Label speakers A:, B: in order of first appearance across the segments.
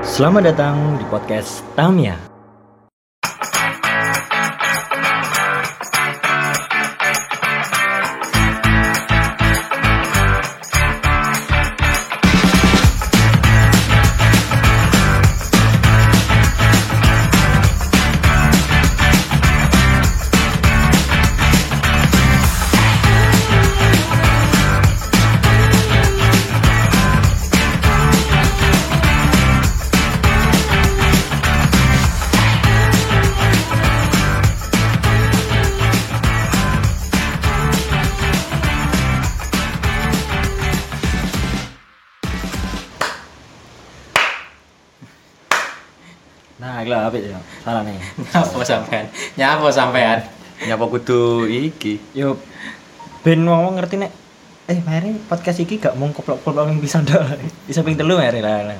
A: Selamat datang di podcast Tamia. Nah, gila apik ya. Salah nih.
B: Nyapa sampean? Nyapa sampean?
C: nyapa kudu iki
A: Yo ben wong ngerti nek eh mari podcast iki gak mung koplok-koplok yang bisa ndak. Bisa ping telu mari lah.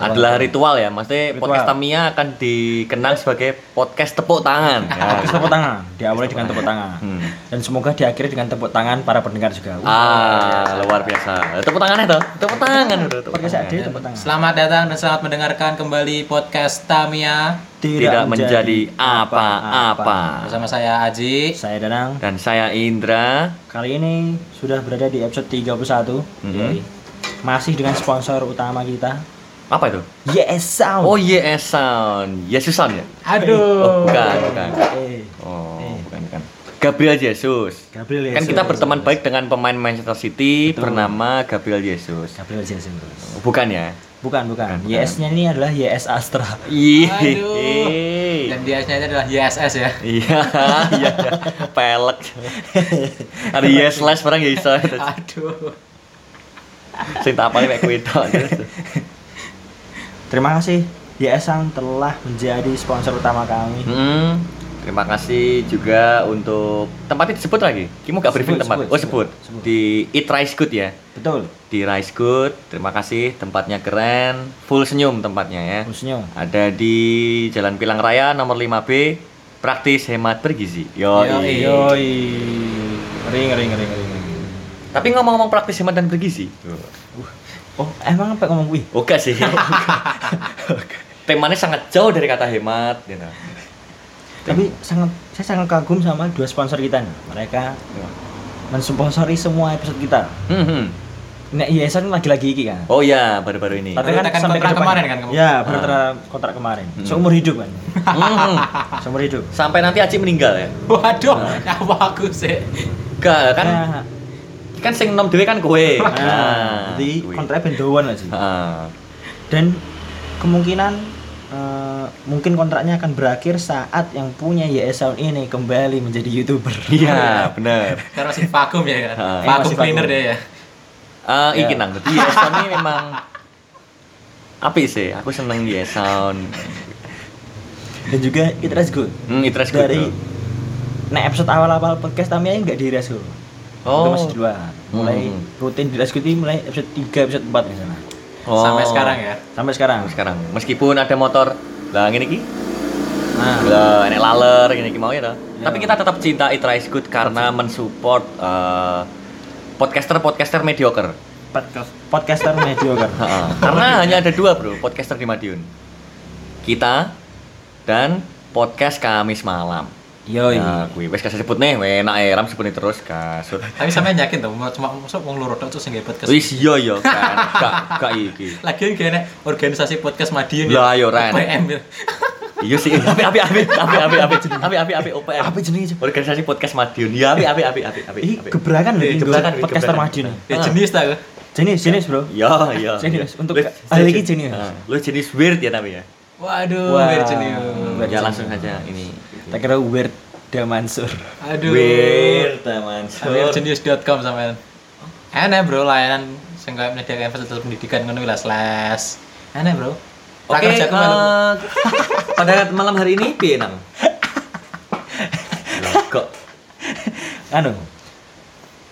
C: adalah ritual ya maksudnya
A: Ritual.
C: podcast Tamiya akan dikenal sebagai podcast tepuk tangan
A: Podcast tepuk tangan, diawali dengan tepuk tangan.
C: Hmm.
A: Dan semoga diakhiri dengan tepuk tangan para pendengar juga. Uh,
C: ah luar biasa tepuk tangan itu tepuk tangan udah tepuk
A: Podcast
C: tangan.
A: ade tepuk tangan.
B: Selamat datang dan selamat mendengarkan kembali podcast Tamia
C: tidak menjadi apa-apa
B: bersama saya Aji.
A: Saya Danang.
C: dan saya Indra
A: Kali ini sudah berada di episode 31.
C: Mhm.
A: Yoi. Masih dengan sponsor utama kita.
C: apa itu
A: Yes Sound.
C: oh yes sound Yesus sound ya
B: Aduh.
C: oh, bukan bukan
A: Eh,
C: oh bukan bukan Gabriel Jesus
A: Gabriel
C: kan
A: Yesus.
C: kita berteman baik dengan pemain Manchester City
A: Betul.
C: bernama Gabriel Jesus
A: Gabriel Yesus.
C: bukan ya
A: Bukan, bukan.
C: Bukan, bukan.
A: YS-nya ini adalah YS Astra.
B: Aduh.
C: Iya.
B: Dan biasanya itu adalah YSS ya.
C: Iya, iya, iya. pelek. Ada yes slash barang ya iso.
B: Aduh.
C: Sing tak apalin mek kuwi tok.
A: Terima kasih YS Sound telah menjadi sponsor utama kami.
C: Hmm, Terima kasih juga untuk tempatnya disebut lagi. Kamu gak briefing
A: Sebut,
C: tempat?
A: sebut,
C: oh sebut.
A: sebut.
C: Di Eat Rice Good ya.
A: Betul.
C: Di Rice Good. Terima kasih tempatnya keren. Full senyum tempatnya ya.
A: Khususnya.
C: Ada di Jalan Pilang Raya nomor 5B. Praktis hemat bergizi. Yo.
B: Yoi.
A: Yoi. Ring, ring, ring, ring. ring.
C: Tapi ngomong-ngomong praktis hemat dan bergizi.
A: Oh, emang apa ngomong gue?
C: Oke sih. Temanya sangat jauh dari kata hemat, gitu.
A: Tapi sangat, saya sangat kagum sama dua sponsor kita nih. Mereka mensponsori semua episode kita.
C: Hmm, hmm.
A: Nek YSN lagi-lagi iki kan.
C: Oh ya, baru-baru ini.
B: Tapi- Berarti kan kontrak
A: depan-
B: kemarin kan kamu?
A: Ya, berarti kontrak kemarin.
C: Hmm.
A: Seumur hidup kan.
C: Hmm, hmm.
A: Seumur hidup.
C: Sampai nanti Aci meninggal ya.
B: Waduh, nyapa aku sih.
C: Gak kan?
A: Nah,
C: Kan sing nom dhewe kan kowe.
A: nah, jadi
C: kuwi.
A: kontraknya bendowan lah sih.
C: Ah.
A: Dan kemungkinan eh, mungkin kontraknya akan berakhir saat yang punya YS Sound ini kembali menjadi youtuber.
C: Iya, bener.
B: Karena masih vakum ya kan.
C: Ah,
B: Vakum
A: masih
B: cleaner
A: vakum.
B: deh ya.
C: Eh, iki
A: Ya.
C: nang. Jadi Yes Sound ini memang apik sih. Aku seneng Yes Sound.
A: Dan juga It Rest Good.
C: Hmm, itu resku
A: Dari
C: tuh.
A: Nah episode awal-awal podcast kami aja nggak di Rest Good. Itu
C: Oh.
A: masih di luar. Mulai
C: Hmm.
A: rutin di Rest Good ini mulai episode 3, episode 4 misalnya.
C: Oh.
B: Sampai sekarang ya.
A: Sampai sekarang.
C: Sekarang meskipun ada motor lah ngene iki
A: Nah,
C: Lah, enek laler gini iki mau ya toh.
A: Iya.
C: Tapi kita tetap cinta It Rice Good karena mensupport eh, podcaster-podcaster mediocre.
A: podcast podcaster mediocre.
C: Heeh. karena hanya ada dua bro podcaster di Madiun. Kita dan podcast Kamis malam.
A: Yoi.
C: Nah, kuwi wis kasih sebut nih, weh, enak eh ram sebut nih terus kasut.
B: Tapi sampean yakin tuh, mau- cuma masuk wong loro tok terus nggak podcast.
C: Wis iya iya kan, gak gak iki.
B: Lagian kayaknya organisasi podcast Madiun
C: Lah, ya, Ren.
B: UPM ya.
C: Iya sih, api api api api api api api api api OPM.
A: Apa jenenge? Cuk?
C: Organisasi podcast Madiun. Ya api api api api api.
A: Ih,
C: api.
A: gebrakan lho
C: Iya,
A: iki,
C: gebrakan,
A: Bro.
C: iya,
A: podcaster
C: gebrakan.
A: Madiun.
B: Ya
C: Ah.
B: jenis tak.
A: Jenis, jenis, Bro.
C: Ya, ya.
A: Genius,
C: ya.
A: untuk
C: Lu-
A: hal ini genius.
C: Ah, Lu jenis weird ya tapi ya.
B: Waduh,
A: Wah.
B: wow. jenius.
A: Weird
C: ya
A: genius.
C: langsung aja ini.
A: Tak kira weird Da Mansur.
B: Aduh. Ah,
C: teman.
B: Amirjenius.com sampean. Enak bro layanan sing kaya menyediakan fasilitas pendidikan ngono lah slash. Enak bro.
C: Oke,
B: Prakerja ku melu.
C: eh, pada malam hari ini piye nang? Loh, Kok
A: Anu.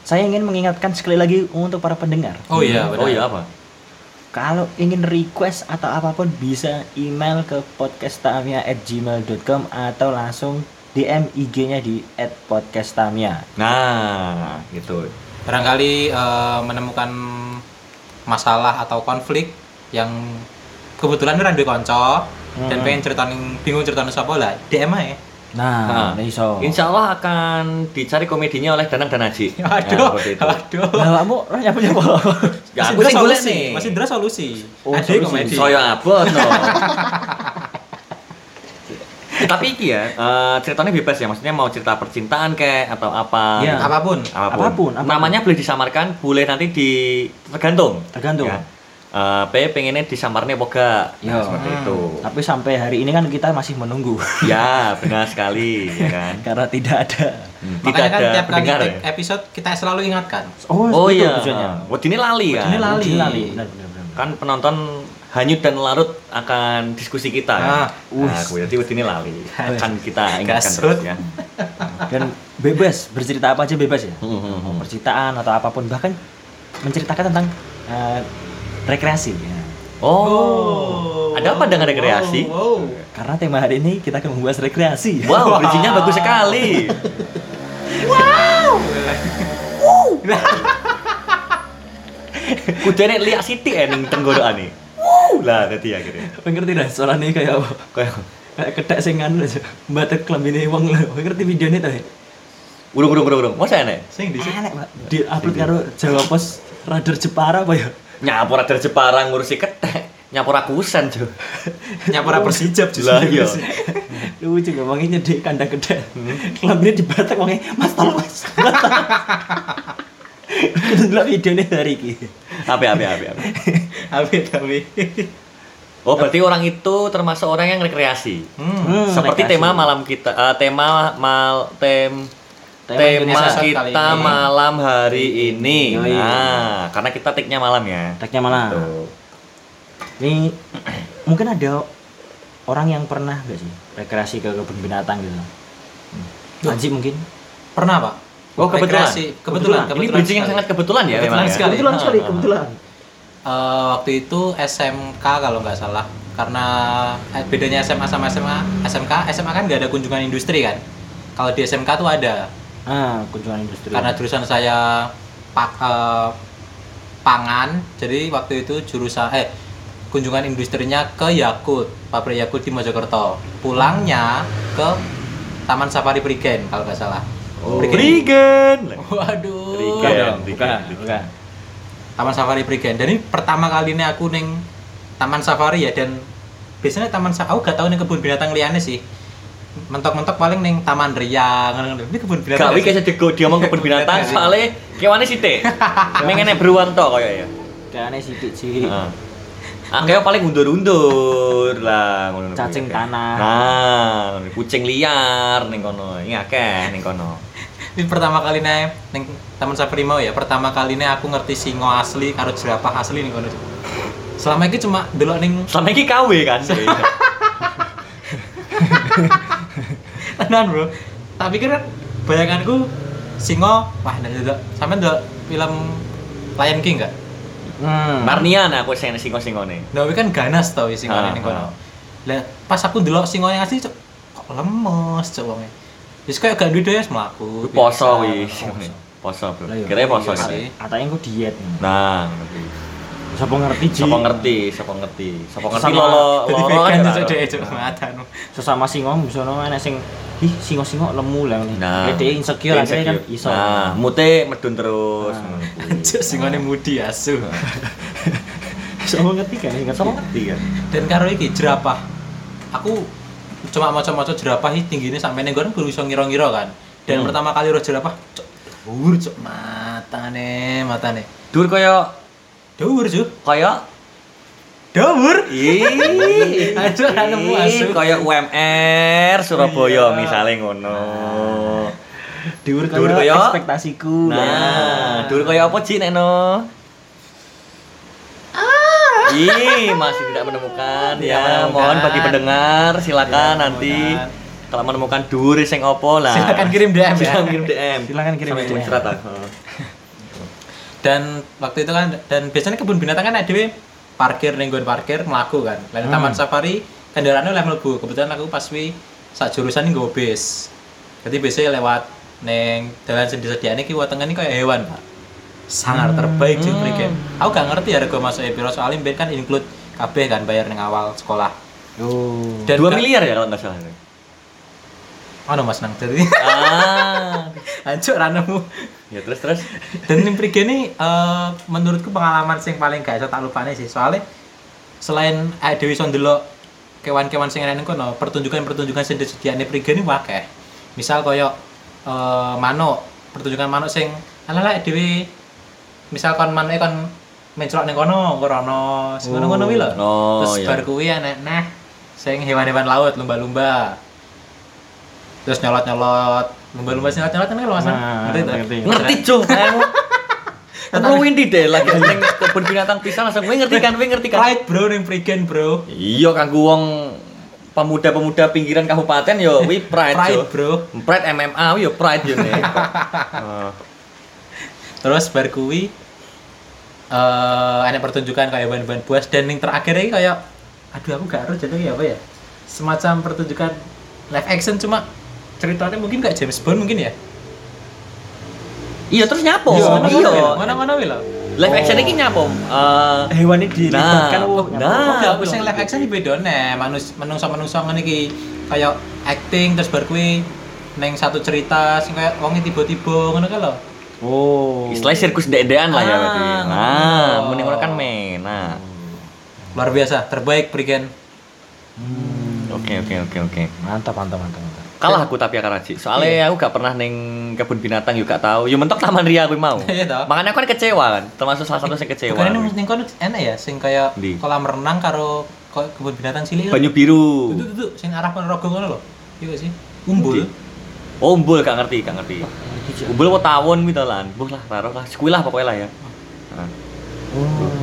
A: Saya ingin mengingatkan sekali lagi untuk para pendengar.
B: Oh iya, benar.
C: Oh iya apa?
A: Kalau ingin request atau apapun bisa email ke podcasttamia@gmail.com atau langsung DM IG-nya di @podcasttamia.
C: Nah, gitu.
B: Barangkali eh, menemukan masalah atau konflik yang kebetulan ora duwe kanca dan
A: Hmm.
B: pengen ceritain bingung ceritain sapa lah DM ae.
A: Nah,
C: Nah.
A: nah. iso.
C: Insya Allah akan dicari komedinya oleh Danang dan Haji.
B: Aduh,
C: seperti itu.
B: aduh.
A: Lah kamu roh nyapu nyapu.
B: Masih Indra
C: Ya, gitu. aku sih golek
B: solusi,
C: nih.
B: masih Indra solusi.
A: Oh,
B: Ada
A: solusi.
B: komedi.
C: Soyo abot ya no. Tapi iki ya, eh, ceritanya bebas ya. Maksudnya mau cerita percintaan kayak atau apa? gitu.
A: Iya.
B: Apapun.
C: Apapun.
A: Apapun, apapun.
C: Namanya boleh disamarkan, boleh nanti di tergantung.
A: Tergantung.
C: Ya. Eh, P pengennya disamarnya apa enggak?
A: Yo.
C: seperti
B: Hmm.
C: itu.
A: Tapi sampai hari ini kan kita masih menunggu
C: Ya, benar sekali, ya kan?
A: karena tidak ada.
C: Hmm, Tidak
B: Makanya kan
C: ada
B: tiap kali
C: pendengar ya.
B: take episode kita selalu ingatkan.
C: Oh
A: itu
C: iya,
A: gitu tujuannya.
C: Wedine lali kan.
B: Wedine lali.
A: Nah, Lali. Benar, benar, benar.
C: Kan penonton hanyut dan larut akan diskusi kita.
B: Ah,
C: Nah,
A: wis.
C: aku jadi wedine lali. Akan kita ingatkan
B: Gasut.
C: terus ya.
A: dan bebas bercerita apa aja bebas ya
C: Hmm, hmm, hmm.
A: percintaan atau apapun bahkan menceritakan tentang eh, rekreasi ya.
C: Oh. Ada apa dengan rekreasi?
B: Oh, Wow.
A: karena tema hari ini kita akan membahas rekreasi
C: Wow, bridging-nya bagus sekali. Kudane liak sithik ya ning tenggorokane. Wow, lah dadi akhirnya.
A: Kowe ngerti dah soalnya kayak apa
C: Kayak
A: kayak kedak sing anu aja batet klambine wong lho Kowe ngerti videonya tuh
C: urung urung urung urung. Masa enek?
B: Sing di
A: enak pak di upload karo Jawa Pos Radar Jepara apa ya
C: Nyapora dari Jepara ngurusi ketek. Nyapora kusen, Jo.
B: nyapora persijab justru.
C: Lah iya.
A: lucu gak wangi nyedek kandang kedak
B: Hmm.
A: klambine di batek wangi mas tolong mas kita dulu videonya hari ini
C: Ape ape ape ape.
B: Amin amin.
C: Oh, berarti orang itu termasuk orang yang rekreasi.
B: Hmm.
A: Hmm,
C: Seperti
A: rekreasi.
C: tema malam kita, eh, tema mal tem
A: Tema
C: tema,
B: Indonesia kali
C: kita
B: ini. Iya,
C: malam hari ini.
A: Yoi.
C: Nah, karena kita take-nya malam ya.
A: Tagnya malam.
C: Tuh.
A: Ini mungkin ada orang yang pernah gak sih rekreasi ke kebun binatang gitu.
B: Duh.
A: Anji mungkin.
B: Pernah, Pak?
C: Oh, kebetulan.
B: Rekreasi. Kebetulan,
C: Ini bridging yang sangat kebetulan ya
B: Kebetulan
C: memang.
B: sekali.
C: Ya?
B: Kebetulan
C: sekali, kebetulan.
B: Eh, waktu itu SMK kalau nggak salah. Karena eh, bedanya SMA sama SMA, SMK, SMA kan nggak ada kunjungan industri kan. Kalau di SMK tuh ada.
A: Ah, kunjungan industri.
B: Karena jurusan saya pak eh, pangan, jadi waktu itu jurusan eh kunjungan industrinya ke Yakult, pabrik Yakult di Mojokerto. Pulangnya ke Taman Safari Prigen kalau nggak salah.
C: Oh.
B: Prigen.
C: Prigen.
B: Oh. Waduh.
C: Prigen.
A: dong,
C: Bukan,
A: bukan,
C: bukan.
A: bukan.
B: Taman Safari Prigen. Dan ini pertama kali ini aku neng Taman Safari ya dan biasanya Taman Safari aku gak tau neng kebun binatang liane sih. Mentok-mentok paling neng Taman Ria. ngono-ngono. Ini kebun binatang.
C: Gak
B: gak
C: wih
B: sih?
C: kayak jago dia mau kebun binatang
B: Binatang.
C: soalnya kewane sithik. Mengene beruang to koyo ya.
A: Kayaknya sidik sih.
C: Heeh. Akeh paling undur-undur lah ngono kuwi.
A: Cacing tanah.
C: Nah, ngono. kucing liar ning kono. Ini akeh ning kono.
B: Ini pertama kali neng neng Taman Safari mau ya. Pertama kali ini aku ngerti singo asli karo jerapah asli nih kono. Selama ini cuma delok neng
C: Selama ini KW kan.
B: tenan, Bro. Tak pikir kan bayanganku singo wah ndak ndak. Sampe ndak film Lion King gak?
A: Hmm.
C: Marnian aku sing singo-singone.
B: Nah, tapi kan ganas tau sing
C: Ah,
B: ngene ning kono.
C: ah.
B: Lah pas aku ndelok sing ngene asli cok kok lemes cok wonge. Wis kayak gak duwe daya mlaku.
C: Ku poso
B: biasa.
C: wis.
B: Poso.
C: Poso, Bro.
A: Lah, iya.
C: Kira poso
B: Iya
C: kan.
B: sih.
A: Katanya gue diet.
C: Nah, ngono kuwi.
A: Siapa ngerti Ji?
C: Sopo ngerti, sopo ngerti. Sopo ngerti
A: Sama
C: lolo
B: Jadi
C: lolo kan
B: vegan
C: ya,
B: cok
C: lolo.
B: dhewe cok matanu.
A: Sesama singo misalnya enak sing ih singo-singo lemu lah.
C: Nah,
A: Dia insecure akhirnya kan
C: insecure.
A: iso.
C: Nah, mute medun terus.
A: Nah.
C: ngono kuwi.
B: Cok sing ngene mudi asu.
A: Siapa ngerti kan? Ngerti.
C: Sopo ngerti kan?
B: Dan karo iki jerapah. Aku cuma maca-maca jerapah iki tinggine sampe ning kono guru iso ngira-ngira kan. Dan
C: Hmm.
B: pertama kali roh jerapah cok dhuwur cok matane, matane.
C: Dur koyo
B: Dhuwur cok.
C: koyo
B: Dhuwur.
C: Ih,
B: Aduh, ra nemu asu.
C: Kayak UMR
B: Iya.
C: Surabaya misalnya ngono.
A: Diur
C: Diur
A: kaya
C: kaya-
A: ekspektasiku.
C: Nah, dulu kayak apa sih Neno? Ih, masih tidak menemukan
B: Tidak
C: ya.
B: menemukan.
C: Mohon bagi pendengar silakan
B: Tidak
C: nanti
B: menemukan.
C: kalau menemukan duri sing opo lah.
B: Silakan kirim DM ya.
C: Silakan kirim DM.
A: Silakan kirim
C: Sampai
A: DM.
C: muncrat lah.
B: dan waktu itu kan dan biasanya kebun binatang kan ada parkir ning nggon parkir mlaku kan lain taman safari kendaraannya oleh mlebu kebetulan aku pas wi sak jurusan nggo bis jadi biasanya lewat neng dalan sendiri sediane ki wetenge ini kayak hewan ya pak sangar terbaik sih hmm. aku gak ngerti harga masuk e piro soalnya ben kan include kabeh kan bayar ning awal sekolah.
A: Oh.
B: Dan
C: dua
B: ka-
C: miliar ya kalau nggak salah
B: Ono Mas nang jadi
C: ah
B: hancur ranemu.
C: ya terus terus
B: Dan yang pergi ini eh, menurutku pengalaman sing paling gak iso tak lupane sih. Soalnya selain eh, Dewi Sondelo kewan-kewan sing enak kono, pertunjukan-pertunjukan sing disediakne prigene wakeh. Misal koyo eh, manuk, pertunjukan manuk sing ala Dewi misal kon manuke kon mencrok ning kono, ngorono, sing ngono-ngono kuwi lho.
C: Oh,
B: Terus
C: iya.
B: bar kuwi enek neh sing hewan-hewan laut, lumba-lumba. Terus nyolot-nyolot, lumba-lumba sing nyolot-nyolot kan lho Mas.
A: Nah,
B: Ngerti ta?
A: ngerti.
C: ngerti cuk kamu Aku winti deh lagi ning kebun binatang pisang langsung gue ngerti kan, gue ngerti kan.
B: Pride bro ning Prigen bro.
C: Iya kanggo wong pemuda-pemuda pinggiran kabupaten yo wi pride,
B: Pride
C: yo.
B: bro.
C: Pride MMA wi yo pride yo nih. Heeh.
B: Terus bar kuwi eh ada pertunjukan kayak ban-ban buas dan yang terakhir ini kayak aduh aku gak harus jadi apa ya semacam pertunjukan live action cuma ceritanya mungkin kayak James Bond mungkin ya
C: Iya terus
B: Oh,
C: nyapo?
A: Iya,
C: Iya.
B: mana mana wih lo
C: Live action iki nyapo? Eh
A: Hewan ini dilibatkan.
C: Nah,
A: oh,
C: nah.
B: Oh,
C: Ah,
B: gak usah live action di bedone manus menungso menungso ngene iki kayak acting terus bar kuwi neng satu cerita sing kayak wonge tiba-tiba ngono kan lho
A: Oh.
C: istilah sirkus dek-dekan lah ya
B: Ah,
C: berarti. Nah,
B: ngono.
C: mending ngono kan men. Nah.
B: luar biasa terbaik Prigen
C: Oke oke oke oke.
A: Mantap, mantap, mantap, mantap.
C: Kalah aku tapi ya Karaji. Soalnya aku gak pernah neng kebun binatang juga gak tahu. Yo mentok Taman Ria aku mau.
B: Iya toh.
C: Makanya aku kan kecewa kan. Termasuk salah satu yang kecewa.
B: Bukan ini ning kono enak ya sing kaya
C: Iya, Di.
B: kolam renang karo ko- kebun binatang cilik. kan?
C: Banyu biru.
B: Duduk duduk sing arah Ponorogo ngono lho. Iya gak sih. Umbul.
C: Di. Oh, umbul gak ngerti, gak ngerti. Umbul mau tawon gitu lah. Buh lah, taruh lah. Sekuil lah pokoknya lah ya. Nah.
A: Oh.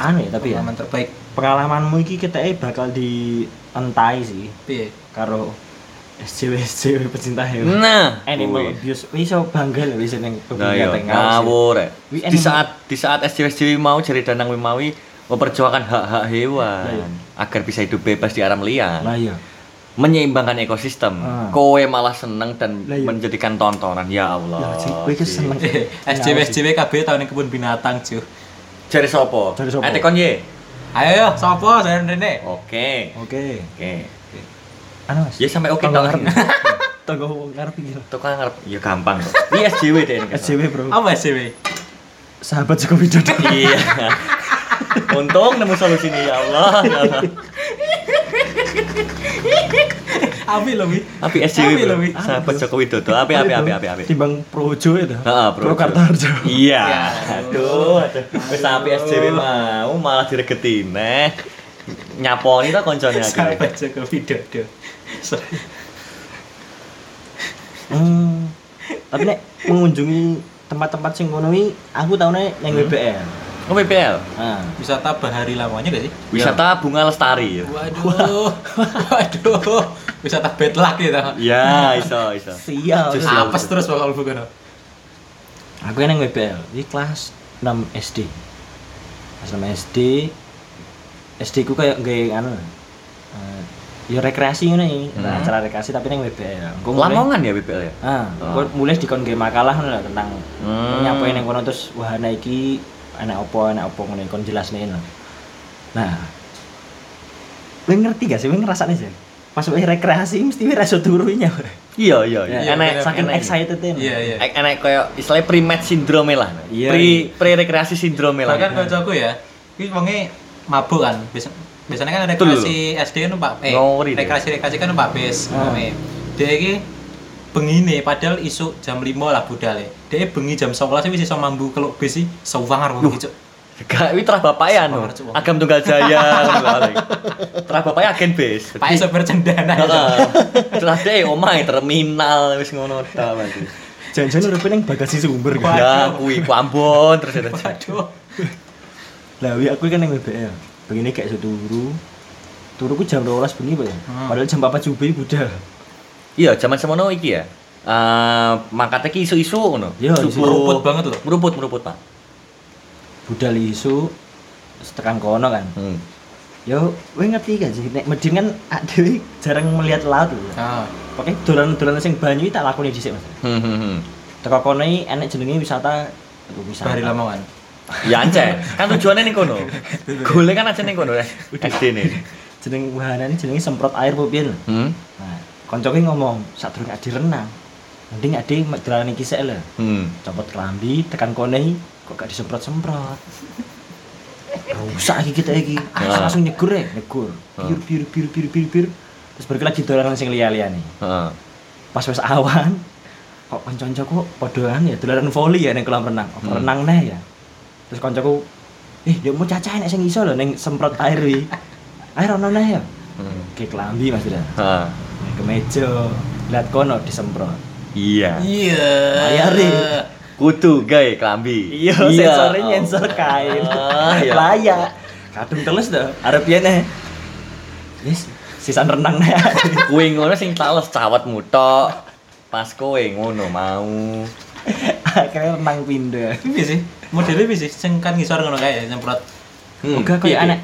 A: Anu ya, tapi
C: Iya.
A: ya.
B: Pengalaman terbaik.
A: Pengalamanmu iki kita bakal dientai sih
B: Piye?
A: karo SJW SJW pecinta hewan.
C: Nah,
A: Animal
C: kuwi.
A: abuse. Wis iso bangga lho wis ning
C: Nah, yo,
A: kegiatan
C: ngawur ya.
A: Wi,
C: Di
A: animal-
C: saat di saat SJW mau cari danang wimawi memperjuangkan hak-hak
A: Lah, iya.
C: hewan agar bisa hidup bebas di alam liar.
A: Lah ya.
C: menyeimbangkan ekosistem.
A: Ah.
C: Kowe malah seneng dan
A: Lah, iya.
C: menjadikan tontonan.
A: Ya,
C: Ya Allah.
A: Ci, kowe iki
C: Ci.
A: seneng.
C: Iya,
B: SJW SJW KB tahun yang kebun binatang cuy.
C: Jari sopo?
A: Jari sopo?
C: Eh, tekon ye.
B: Ayo yo sopo saya rene.
C: Oke.
A: Oke.
C: Oke.
A: Anu Mas.
C: Ya sampai oke
A: Tonggo
C: tau
A: ngarep.
C: kan.
A: Tonggo wong ngarep iki lho.
C: Tukang ngarep. Ya gampang kok. Iya SJW deh ini. kan.
A: SJW, Bro.
B: Apa SJW?
A: Sahabat Joko Widodo.
C: Iya. Untung nemu solusi nih ya Allah. ya Allah.
B: Abi lho Wi.
C: Api SJW.
B: Api
C: bro.
B: lho Wi.
C: Sahabat Jokowi Dodo. Api api api api api.
A: Timbang Projo ya itu.
C: Heeh, Bro.
A: Pro Kartarjo.
C: Iya.
B: Ya,
C: Aduh, aduh. Wis api SJW mau malah diregeti neh. Nyaponi to koncone aku.
B: Sahabat Joko Widodo. So-
A: Hmm. Tapi nek mengunjungi tempat-tempat sing ngono iki, aku taune nang WBL.
C: Oh, PPL.
A: Nah,
B: Wisata bahari lamanya gak sih?
C: Wisata bunga lestari. ya?
B: Waduh. Waduh. Wisata bad luck gitu.
C: Ya, iso iso.
A: sial.
C: Jus.
B: Apes terus bakal bukan.
A: Aku nang WBL, iki kelas 6 SD. Kelas 6 SD. SD ku kayak nggae anu. eh, Ya rekreasi ngono iki,
C: Hmm.
A: acara rekreasi tapi nang WBL. Engko mulai-
C: Lamongan ya BPL ya?
A: Ah,
C: Ah.
A: engko mulai dikon nggae makalah ngono lah tentang
C: Hmm.
A: nyapain yang kono terus wahana iki anak opo anak opo ngono kon jelasne lho. Nah. Lu ngerti gak sih, lu ngerasane sih? Pas wis rekreasi mesti wis rasa turunya.
C: Iya, iya,
A: Ya,
C: iya.
B: bener,
C: Enak
A: Saking
C: enak.
A: excited
B: Iya iya.
C: Ek- enak koyo istilahnya pre-match syndrome lah.
A: Iya.
C: Pre pre rekreasi syndrome lah.
B: Bahkan kancaku ya, iki wonge mabuk kan. Biasa- Biasanya kan
C: Betul.
B: rekreasi SD kan numpak eh
C: Ngawuri dia.
B: rekreasi-rekreasi kan numpak bis.
A: Ah.
B: ngomongnya. Dia iki bengine padahal isuk jam 5 lah budale. Dia bengi jam 11 wis iso mambu keluk bis iki sewangar wong iki, Cuk.
C: Gak wih terah bapak ya anu.
B: Semangat, Cuk.
C: Agam Tunggal Jaya. ngono lho, Alek. terah bapak ya agen bis.
B: Pak sopir cendana.
C: Heeh. Terah deh omahe terminal wis ngono ta mati.
A: Jangan-jangan udah yang bagasi sumber kan.
C: Ya kuwi ku Ambon terus ada.
B: Waduh.
A: Lah wi aku kan yang WBL. Begini kayak seturu. Turuku jam 12 bengi, Pak. ya.
B: Hmm.
A: Padahal jam 4 subuh budal.
C: Iya, zaman semono iki ya. Eh, mangkatnya ki isu-isu ngono.
A: Iya, isu.
C: Subuh.
B: Meruput banget loh.
C: Meruput, meruput, Pak.
A: Budal isu setekan kono kan.
C: Hmm.
A: Yo, gue ngerti gak sih? Nek Medin kan adewi jarang melihat laut lho.
B: Nah,
A: Oke, dolan-dolan sing banyu iki tak lakoni dhisik, Mas.
C: Hmm, hmm, hmm.
A: Teko kono iki enek jenenge wisata wisata.
B: bahari Lamongan.
C: Ya anjay, kan tujuannya ning kono. Gole kan aja ning kono eh, SD nih.
A: jeneng wahanane jenenge semprot air po piye lho.
C: Hmm.
A: Nah, koncoke ngomong sadurunge ade renang. Mending ade mek dalane iki sik lho.
C: Hmm.
A: Copot kelambi tekan kone kok gak disemprot-semprot. Rusak iki kita iki.
C: Ah.
A: Langsung nyegur ya, nyegur.
C: Ah.
A: Biru biru biru biru biru biru. Terus balik lagi dolanan sing liya-liya nih.
C: Heeh.
A: Pas wis awan kok kanca-kancaku kok padhaan ya dolanan voli ya ning kolam renang. Apa
C: Hmm.
A: renang neh ya. Terus kancaku eh dia mau cacah nek sing iso lho ning semprot air iki. Air ono neh ya.
C: Hmm.
A: Oke, kelambi Mas Dra.
C: Heeh.
A: Naik ke meja lihat kono disemprot
C: Iya.
B: Iya.
A: Layari.
C: Kutu gawe klambi.
A: iya sensornya nyensor kain
C: Ah, iya.
A: layak kadung telus dah arep yene yes sisan renang nih
C: Kowe ngono sing tales cawet mutok. Pas kowe ngono mau.
A: akhirnya renang pindah
B: Piye sih? Modelnya piye sih? Sing kan ngisor ngono kae nyemprot.
C: Hmm.
A: enggak
B: piye,
A: kayak anak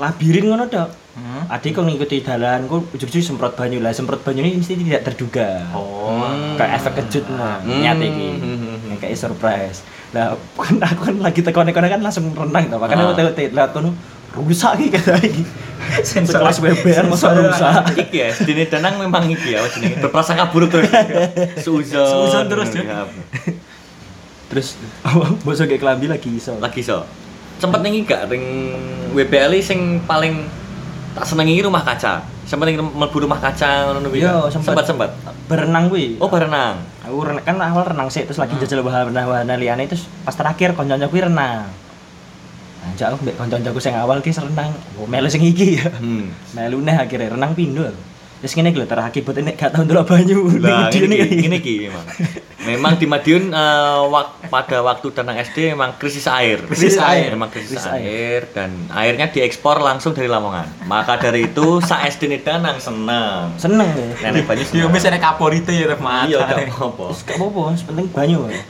A: labirin ngono dok
B: Hmm.
A: adik kok ngikuti dalan kok ujug-ujug semprot banyu lah semprot banyu ini mesti tidak terduga
B: Oh.
A: kayak efek kejut nah
C: Hmm.
A: niat iki
C: Hmm.
A: kayak surprise lah kan aku kan lagi tekan tekan kan langsung renang tau
C: Ah.
A: makanya aku tengok lihat kono rusak iki kata iki
B: Sensor.
A: kelas BBR masa
B: Sensor.
A: rusak
C: Iki ya, sedine danang memang iki ya jenenge. Berprasangka buruk terus. Suzon.
B: Suzon terus, ya.
A: terus bosok kayak kelambi lagi iso
C: Lagi so. Sempet nengi gak ring WBL sing paling tak senengi iki rumah kaca. Sempet ning mlebu rumah kaca ngono kuwi.
A: Yo,
C: gak?
A: sempet.
C: sempet.
A: berenang kuwi
C: Oh, barenang.
A: aku renang kan awal renang sih terus lagi jajal wahana-wahana liyane terus pas terakhir kanca-kanca kuwi renang Anjak aku mbek kanca-kancaku sing awal ki renang oh, melu sing iki ya
C: Hmm.
A: melu neh akhirnya renang pindho aku. Terus ngene iki lho terakibat ini gak tau ndelok banyu. Ini dia
C: Lah, ini, ki-
A: nih.
C: ini ki memang. Memang di Madiun eh, wak- pada waktu danang SD memang krisis air.
A: Krisis air.
C: Memang krisis,
A: Krisis
C: air. dan airnya diekspor langsung dari Lamongan. Maka dari itu sa SD ini danang seneng.
A: Seneng ya.
C: Nenek banyu
B: Yo
C: seneng.
B: wis ana kaporite ya Ref Mat.
C: Iya, gak apa-apa.
A: Terus gak apa-apa, yang penting banyu. ya.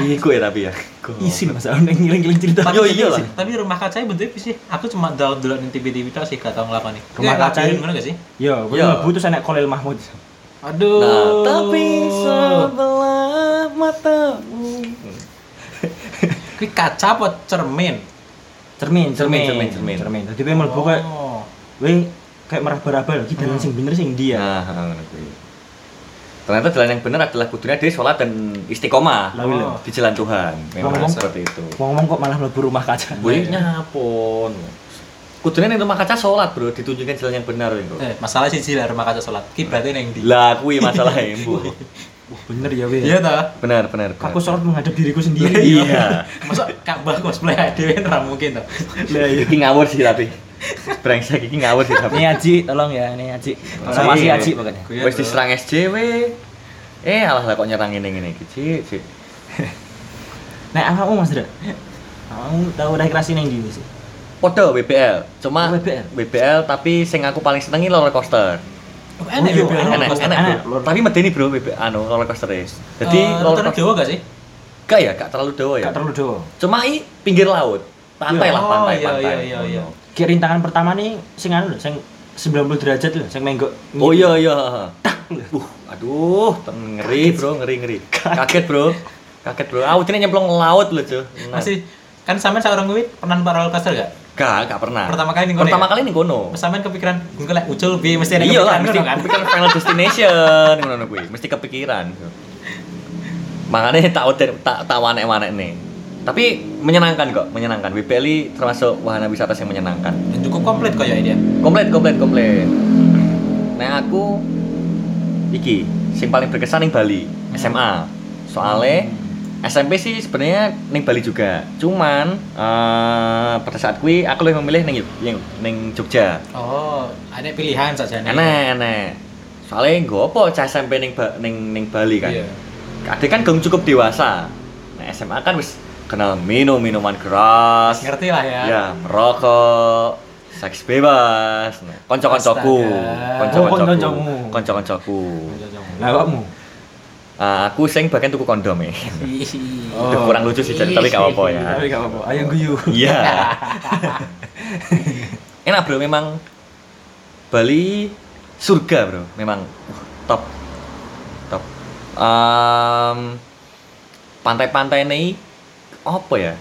C: Iya gue tapi ya.
A: Isi lho Mas, aku nek ngiling-ngiling cerita.
C: Yo iya lah.
B: Tapi rumah kaca bentuknya piye sih? Aku cuma delok-delok ning TV-TV tok sih gak tau nglakoni.
A: Rumah
B: Ya,
A: kaca
B: labirin
A: ini-
B: ngono gak sih?
A: Yo, gue
C: Yo.
A: Iya, mlebu terus enek Kolil Mahmud.
B: Aduh.
C: Nah, tapi sebelah matamu.
B: Kuwi kaca apa cermin?
A: Cermin, cermin,
C: Cermin, cermin, cermin.
A: cermin. Tadi gue mlebu kayak
B: Oh.
A: we kayak meraba-raba lagi dalan sing bener sing dia.
C: Nah, ngono kuwi. Ternyata jalan yang benar adalah kudunya dia sholat dan istiqomah
A: Lah, wih, lho.
C: di jalan Tuhan. Memang
A: Ngomong-
C: seperti itu.
A: Ngomong kok malah mlebu rumah kaca.
C: Gue nyapon. Kudunya ning rumah kaca sholat bro, ditunjukkan jalan yang benar bro.
B: Eh, masalah siji lah rumah kaca salat. Ki berarti ning ndi?
C: Lah kuwi masalah embu.
A: Wah, bener ya we.
B: Iya ta?
C: Benar benar. benar.
A: Aku sholat menghadap diriku sendiri.
C: Iya.
B: Masa Ka'bah cosplay dhewe ora mungkin to.
A: Lah iya.
C: Iki ngawur sih tapi. Brengsek iki ngawur sih tapi.
A: Nih Aji, tolong ya, nih Aji. Sama si Aji pokoknya.
B: Iya,
C: Wes
B: bro.
C: diserang SJW. Eh alah lah kok nyerang ini ini iki, Cik, Cik.
A: Nek awakmu Mas Dra. Awakmu tau rekreasi ning ndi sih?
C: Oh, Podo WBL, cuma
A: Oh, WBL.
C: WBL tapi sing aku paling senengi roller coaster.
B: Enak
A: iya, enak,
B: yo enak.
C: Oh, Enak,
A: coaster,
C: enak,
A: enak.
C: bro. Tapi medeni bro, WBL anu roller coaster ya. Jadi
B: rotor
C: roller coaster
B: Eh, Jawa gak sih?
C: gak ya, gak terlalu dewa ya.
A: Gak terlalu doang.
C: Cuma i pinggir laut, pantai
A: Iya.
C: lah,
B: Oh,
C: pantai,
B: iya,
C: pantai.
B: iya,
C: Nah.
B: iya, iya.
A: Kayak rintangan pertama nih sing anu lho, sing 90 derajat lho, sing menggok.
C: Oh iya iya. Uh, aduh, ten- ngeri bro, ngeri ngeri. Kaget bro, kaget bro. Ah, ini nyemplung laut loh cuy.
B: Masih kan sampean seorang kuwi pernah numpak roller coaster gak?
C: Gak, gak pernah.
B: Pertama kali ning kono
C: Pertama
B: ya?
C: kali ning kono.
B: Sampean kepikiran engko lek ucul piye mesti ada
C: Iya lah, mesti
B: kepikiran ngono kan.
C: kepikiran final destination ngono kuwi, mesti kepikiran. Makanya tak udah tak tak wanek-wanek nih. Tapi menyenangkan kok, menyenangkan. WPLI termasuk wahana wisata yang menyenangkan.
B: Cukup komplit kok ya ini. ya.
C: Komplit, komplit, komplit. Nah aku iki sing paling berkesan ning Bali,
B: Hmm.
C: SMA. Soale SMP sih sebenarnya ning Bali juga. Cuman eh pada saat kuwi aku lebih memilih ning Yog- ning, ning Jogja.
B: Oh, ada pilihan saja nih.
C: enak enak soalnya gue apa cah SMP ning Ba- ning ning Bali kan
B: Iya.
C: kadang kan gong cukup dewasa nah SMA kan wis kenal minum minuman keras
B: Ngerti lah ya.
C: ya merokok seks bebas nah, konco-koncoku
B: Astaga.
C: konco-koncoku
A: Oh, konco-koncomu.
C: konco-koncoku
A: Lah awakmu?
C: Ah, aku sing bahkan tuku kondom ya
A: Oh. Iya,
C: Duh, kurang lucu sih jadi tapi gak apa-apa ya
A: Tapi gak apa-apa. Ayo guyu.
C: Iya. Enak bro, memang Bali surga bro, memang uh, top, top. Em, pantai-pantai ini apa ya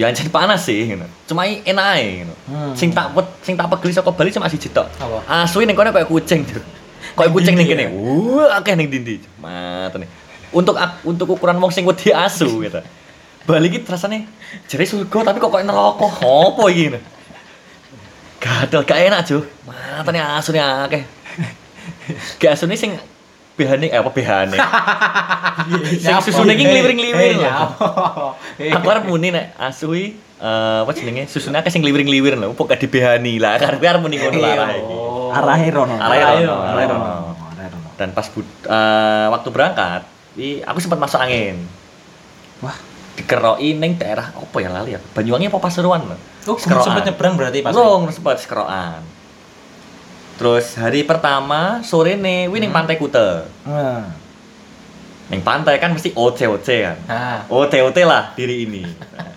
C: ya anjir panas sih gitu. cuma i- enak ae gitu.
A: Hmm.
C: sing tak wet sing tak pegel saka Bali cuma siji tok
B: Apa?
C: asli ning kono kayak kucing tuh kayak kucing ning
B: dindi
C: kene
B: ya?
C: wah akeh ning dindi matene untuk ak- untuk ukuran wong sing wedi asu gitu Bali iki rasane jere surga tapi kok koyo neraka opo iki gitu. Gatel gak enak, Jo. Matane asune akeh. Gak asune sing behane eh apa behane. Sing susune iki ngliwir-ngliwir.
B: Eh,
C: lho.
B: nyapo. Eh,
C: Aku arep muni nek asui eh apa jenenge susune akeh sing ngliwir-ngliwir lho, pokok gak dibehani lah. Karep arep muni ngono lah arah iki.
B: Oh.
A: Arahe rono.
C: Arahe rono.
A: Arahe rono. Arahe rono.
C: Dan pas bud- eh, waktu berangkat, i- aku sempat masuk angin.
A: Wah,
C: Dikeroi ning daerah apa ya lali ya? Banyuwangi apa Pasuruan lho.
B: Oh,
C: Sekeroan.
B: sempat nyebrang berarti pas.
C: Long sempat sekeroan. Terus hari pertama sore nih, wih ning pantai Kuta.
A: nah,
C: Ning pantai kan mesti OC OC kan.
B: Ah.
C: OT OT lah diri ini. Nah,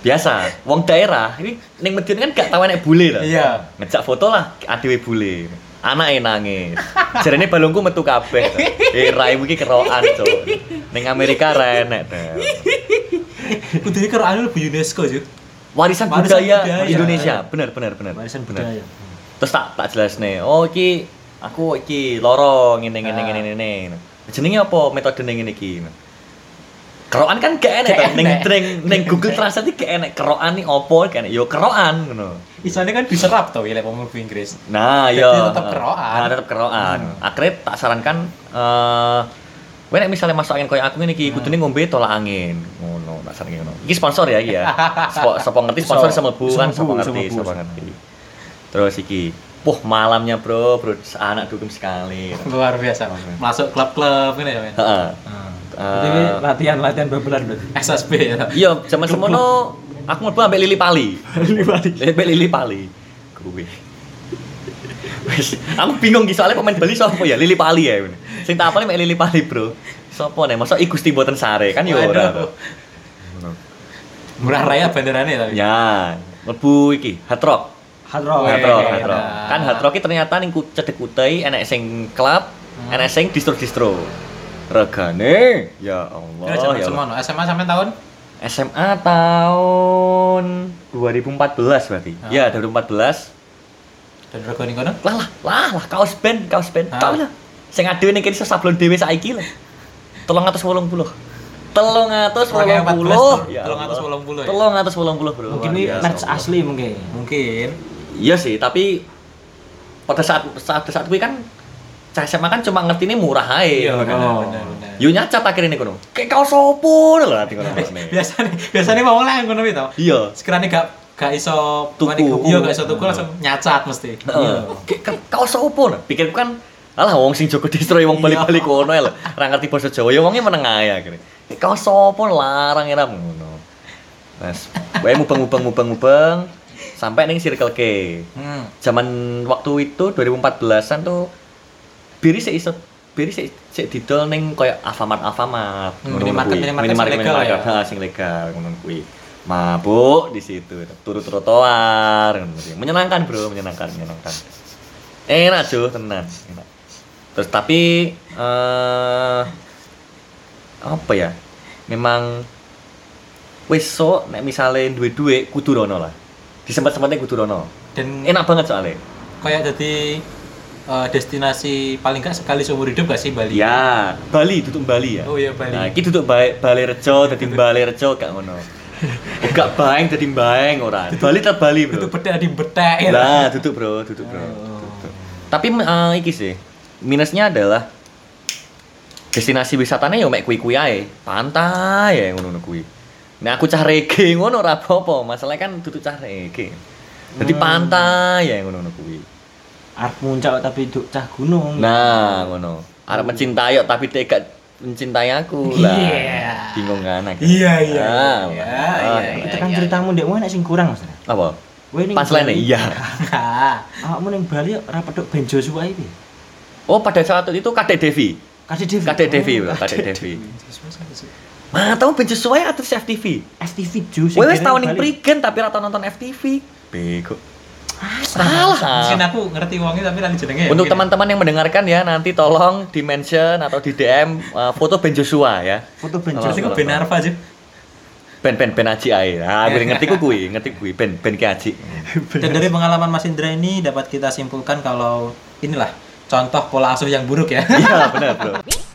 C: Biasa, wong daerah ini ning Medion kan gak tau enek bule lah.
B: Iya.
C: Ngejak foto lah adewe bule. Anake nangis. Jarene balungku metu kabeh. ta. Eh raimu iki kerokan, Cok. Ning Amerika ra enek. ta.
B: Kudune karo anu lebih UNESCO, Juk.
C: Warisan,
B: Warisan
C: budaya,
B: budaya.
C: Indonesia. Bener, bener, bener.
A: warisan
C: Bener.
A: budaya.
C: terus tak tak jelas nih oh iki aku iki loro ngene ngene
B: Ah.
C: ngene ngene jenenge apa metode ning ngene iki kerokan kan gak enek
B: Gak
C: ta ning
B: enek.
C: ning ning Google Translate iki gak enek kerokan iki apa gak enek yo kerokan ngono
B: Isane kan diserap to ya lek wong mlebu Inggris.
C: nah
B: Jadi
C: yo
B: tetep kerokan.
C: nah tetep kerokan
B: Hmm.
C: akhirnya tak sarankan eh Wah, nek misalnya masuk angin kayak aku
B: Hmm.
C: ini iki kudune ngombe tolak angin. Ngono, tak saranke ngono. Iki sponsor ya iki ya. Sopo sopo ngerti sponsor
A: Iso.
C: sama Bu
A: Iso mlebu,
C: kan sopo
A: iso
C: ngerti,
A: mlebu,
C: sopo
A: iso
C: ngerti. Terus iki, puh malamnya bro, bro anak dugem sekali.
B: Luar biasa. Masuk klub-klub ngene ya, men.
C: Heeh.
A: Berarti ini latihan-latihan babelan berarti.
B: SSB ya.
C: Iya, zaman semono aku mlebu ambek Lili Pali. Lili Pali. Ambek Lili Pali. Kuwi. Wis, aku bingung iki soalnya pemain Bali sapa ya? Lili Pali ya. ini. Sing tak apal mek Lili Pali, Bro. Sapa nih? Masa iku Gusti mboten sare kan yo ora.
B: Waduh.
C: toh.
B: Murah raya bandarane tapi.
C: Ya, mlebu iki, Hard Rock.
A: Hard rock.
B: Weh,
C: Hard Rock,
B: enak.
C: Hard Rock. Kan Hard Rock iki ternyata ning ku- cedek kutai enek sing klub, enek sing distro-distro. Regane, ya Allah,
B: Kira Nah, zaman
C: ya Allah.
B: semono. SMA sampean tahun?
C: SMA tahun 2014 berarti.
B: Ah.
C: Ya, 2014.
B: Dan regane kono?
C: Lah lah, lah lah kaos band, kaos band.
B: Ah.
C: Tau lah. Sing ngadewe ning kene iso sablon dhewe saiki lah. 380. 380.
B: 2014, tuh. 380 ya?
C: 380, Bro.
A: Mungkin
C: Luar
A: ini
C: biasa,
A: merch
C: Allah.
A: asli mungkin.
B: Mungkin.
C: Iya sih, tapi pada saat saat saat kuwi kan cah SMA kan cuma ngerti ini murah
B: Iya,
C: ae. kan.
A: bener.
B: benar
A: Oh.
B: benar benar.
C: Yo nyacat akhirnya nih kono. Kayak kaos opo lho ati kono.
B: Biasane biasane wong lah ngono kuwi to.
C: Iya.
B: Sekiranya gak gak iso
C: Tuku.
B: mani gu- Iya, gak iso tuku langsung nyacat mesti. Iya.
C: Heeh. Kayak ka- kaos opo lho. Pikirku kan alah wong sing Joko Destroy wong bali-bali kono ya lho. Ora ngerti basa Jawa ya wonge meneng ae akhirnya. Kayak kaos opo larang era ngono. Mas, wae mubeng-mubeng-mubeng-mubeng sampai ning Circle K.
B: Hmm.
C: Zaman waktu itu 2014-an tuh biri sik iso biri sik sik didol ning koyo Alfamart Alfamart
B: Hmm,
C: ngono
B: minimarket-
C: kuwi.
B: minimarket sing legal ya?
C: minimarket ha sing legal ngono kuwi. Mabuk di situ, turu trotoar ngono kuwi. Menyenangkan, Bro, menyenangkan, menyenangkan. Enak, Jo, tenan. Enak. Terus tapi eh apa ya? Memang wis sok nek misale duwe-duwe kudu rono lah. Disempet-sempetnya kudu rono.
B: Dan
C: Enak banget soalnya.
B: kayak jadi eh, destinasi paling gak sekali seumur hidup gak sih Bali?
C: Ya, Bali tutup Bali ya.
B: Oh iya, Bali.
C: Nah, iki tutup Bali, Bali Rejo dadi Bali Rejo gak ngono. Gak baeng dadi baeng ora. Bali tetep Bali, Bro.
B: Itu petek di betek ya.
C: Lah, tutup, Bro, tutup,
B: Oh.
C: Bro. Tutup. Tapi eh, iki sih, minusnya adalah destinasi wisatanya yo mek kuwi-kuwi ae, pantai ya ngono-ngono kuwi. Nek aku cah rege ngono ora apa-apa, masalahnya kan tutup cah rege. Jadi
B: Hmm.
C: pantai ya ngono-ngono kuwi.
A: Arep muncak tapi duk cah gunung.
C: Nah, ngono. Arep mencintai kok tapi dia gak mencintai aku lah.
B: Iya.
C: Bingung kan aku.
B: Iya, iya, iya,
C: Ah, ah,
B: iya,
C: ah.
A: Itu
B: iya.
A: kan ceritamu ndek mana sing kurang, Mas.
C: Apa?
A: Kowe ning
C: Punchline
A: Bali-
C: iya.
B: Nah,
A: Awakmu ning Bali ora pedhok Ben Joshua iki.
C: Oh, pada saat itu Kadek Devi.
A: Kadek Devi.
C: Kadek Devi,
A: Oh,
C: Bro. Kadek
A: Kadek
C: Devi. Mah, tahu ben sesuai atau FTV?
A: STV Ju. sing
C: Kowe wis
A: kene
C: tau
A: ning
C: ning
A: Bali.
C: Prigen tapi ora tau nonton FTV. Bego.
B: Ah,
C: salah
B: Mungkin aku ngerti wongnya tapi lali jenenge ya.
C: Untuk
B: mungkin.
C: teman-teman yang mendengarkan ya nanti tolong di mention atau di DM eh, foto Ben Joshua ya.
A: Foto Ben
B: Berarti
A: Joshua.
B: kok Ben Arfa aja.
C: Ben Ben Ben Aji ae. Ah, gue ngerti ku kuwi, ngerti kuwi Ben Ben ki Aji.
B: Dan dari pengalaman Mas Indra ini dapat kita simpulkan kalau inilah contoh pola asuh yang buruk ya.
C: Iya, benar, Bro.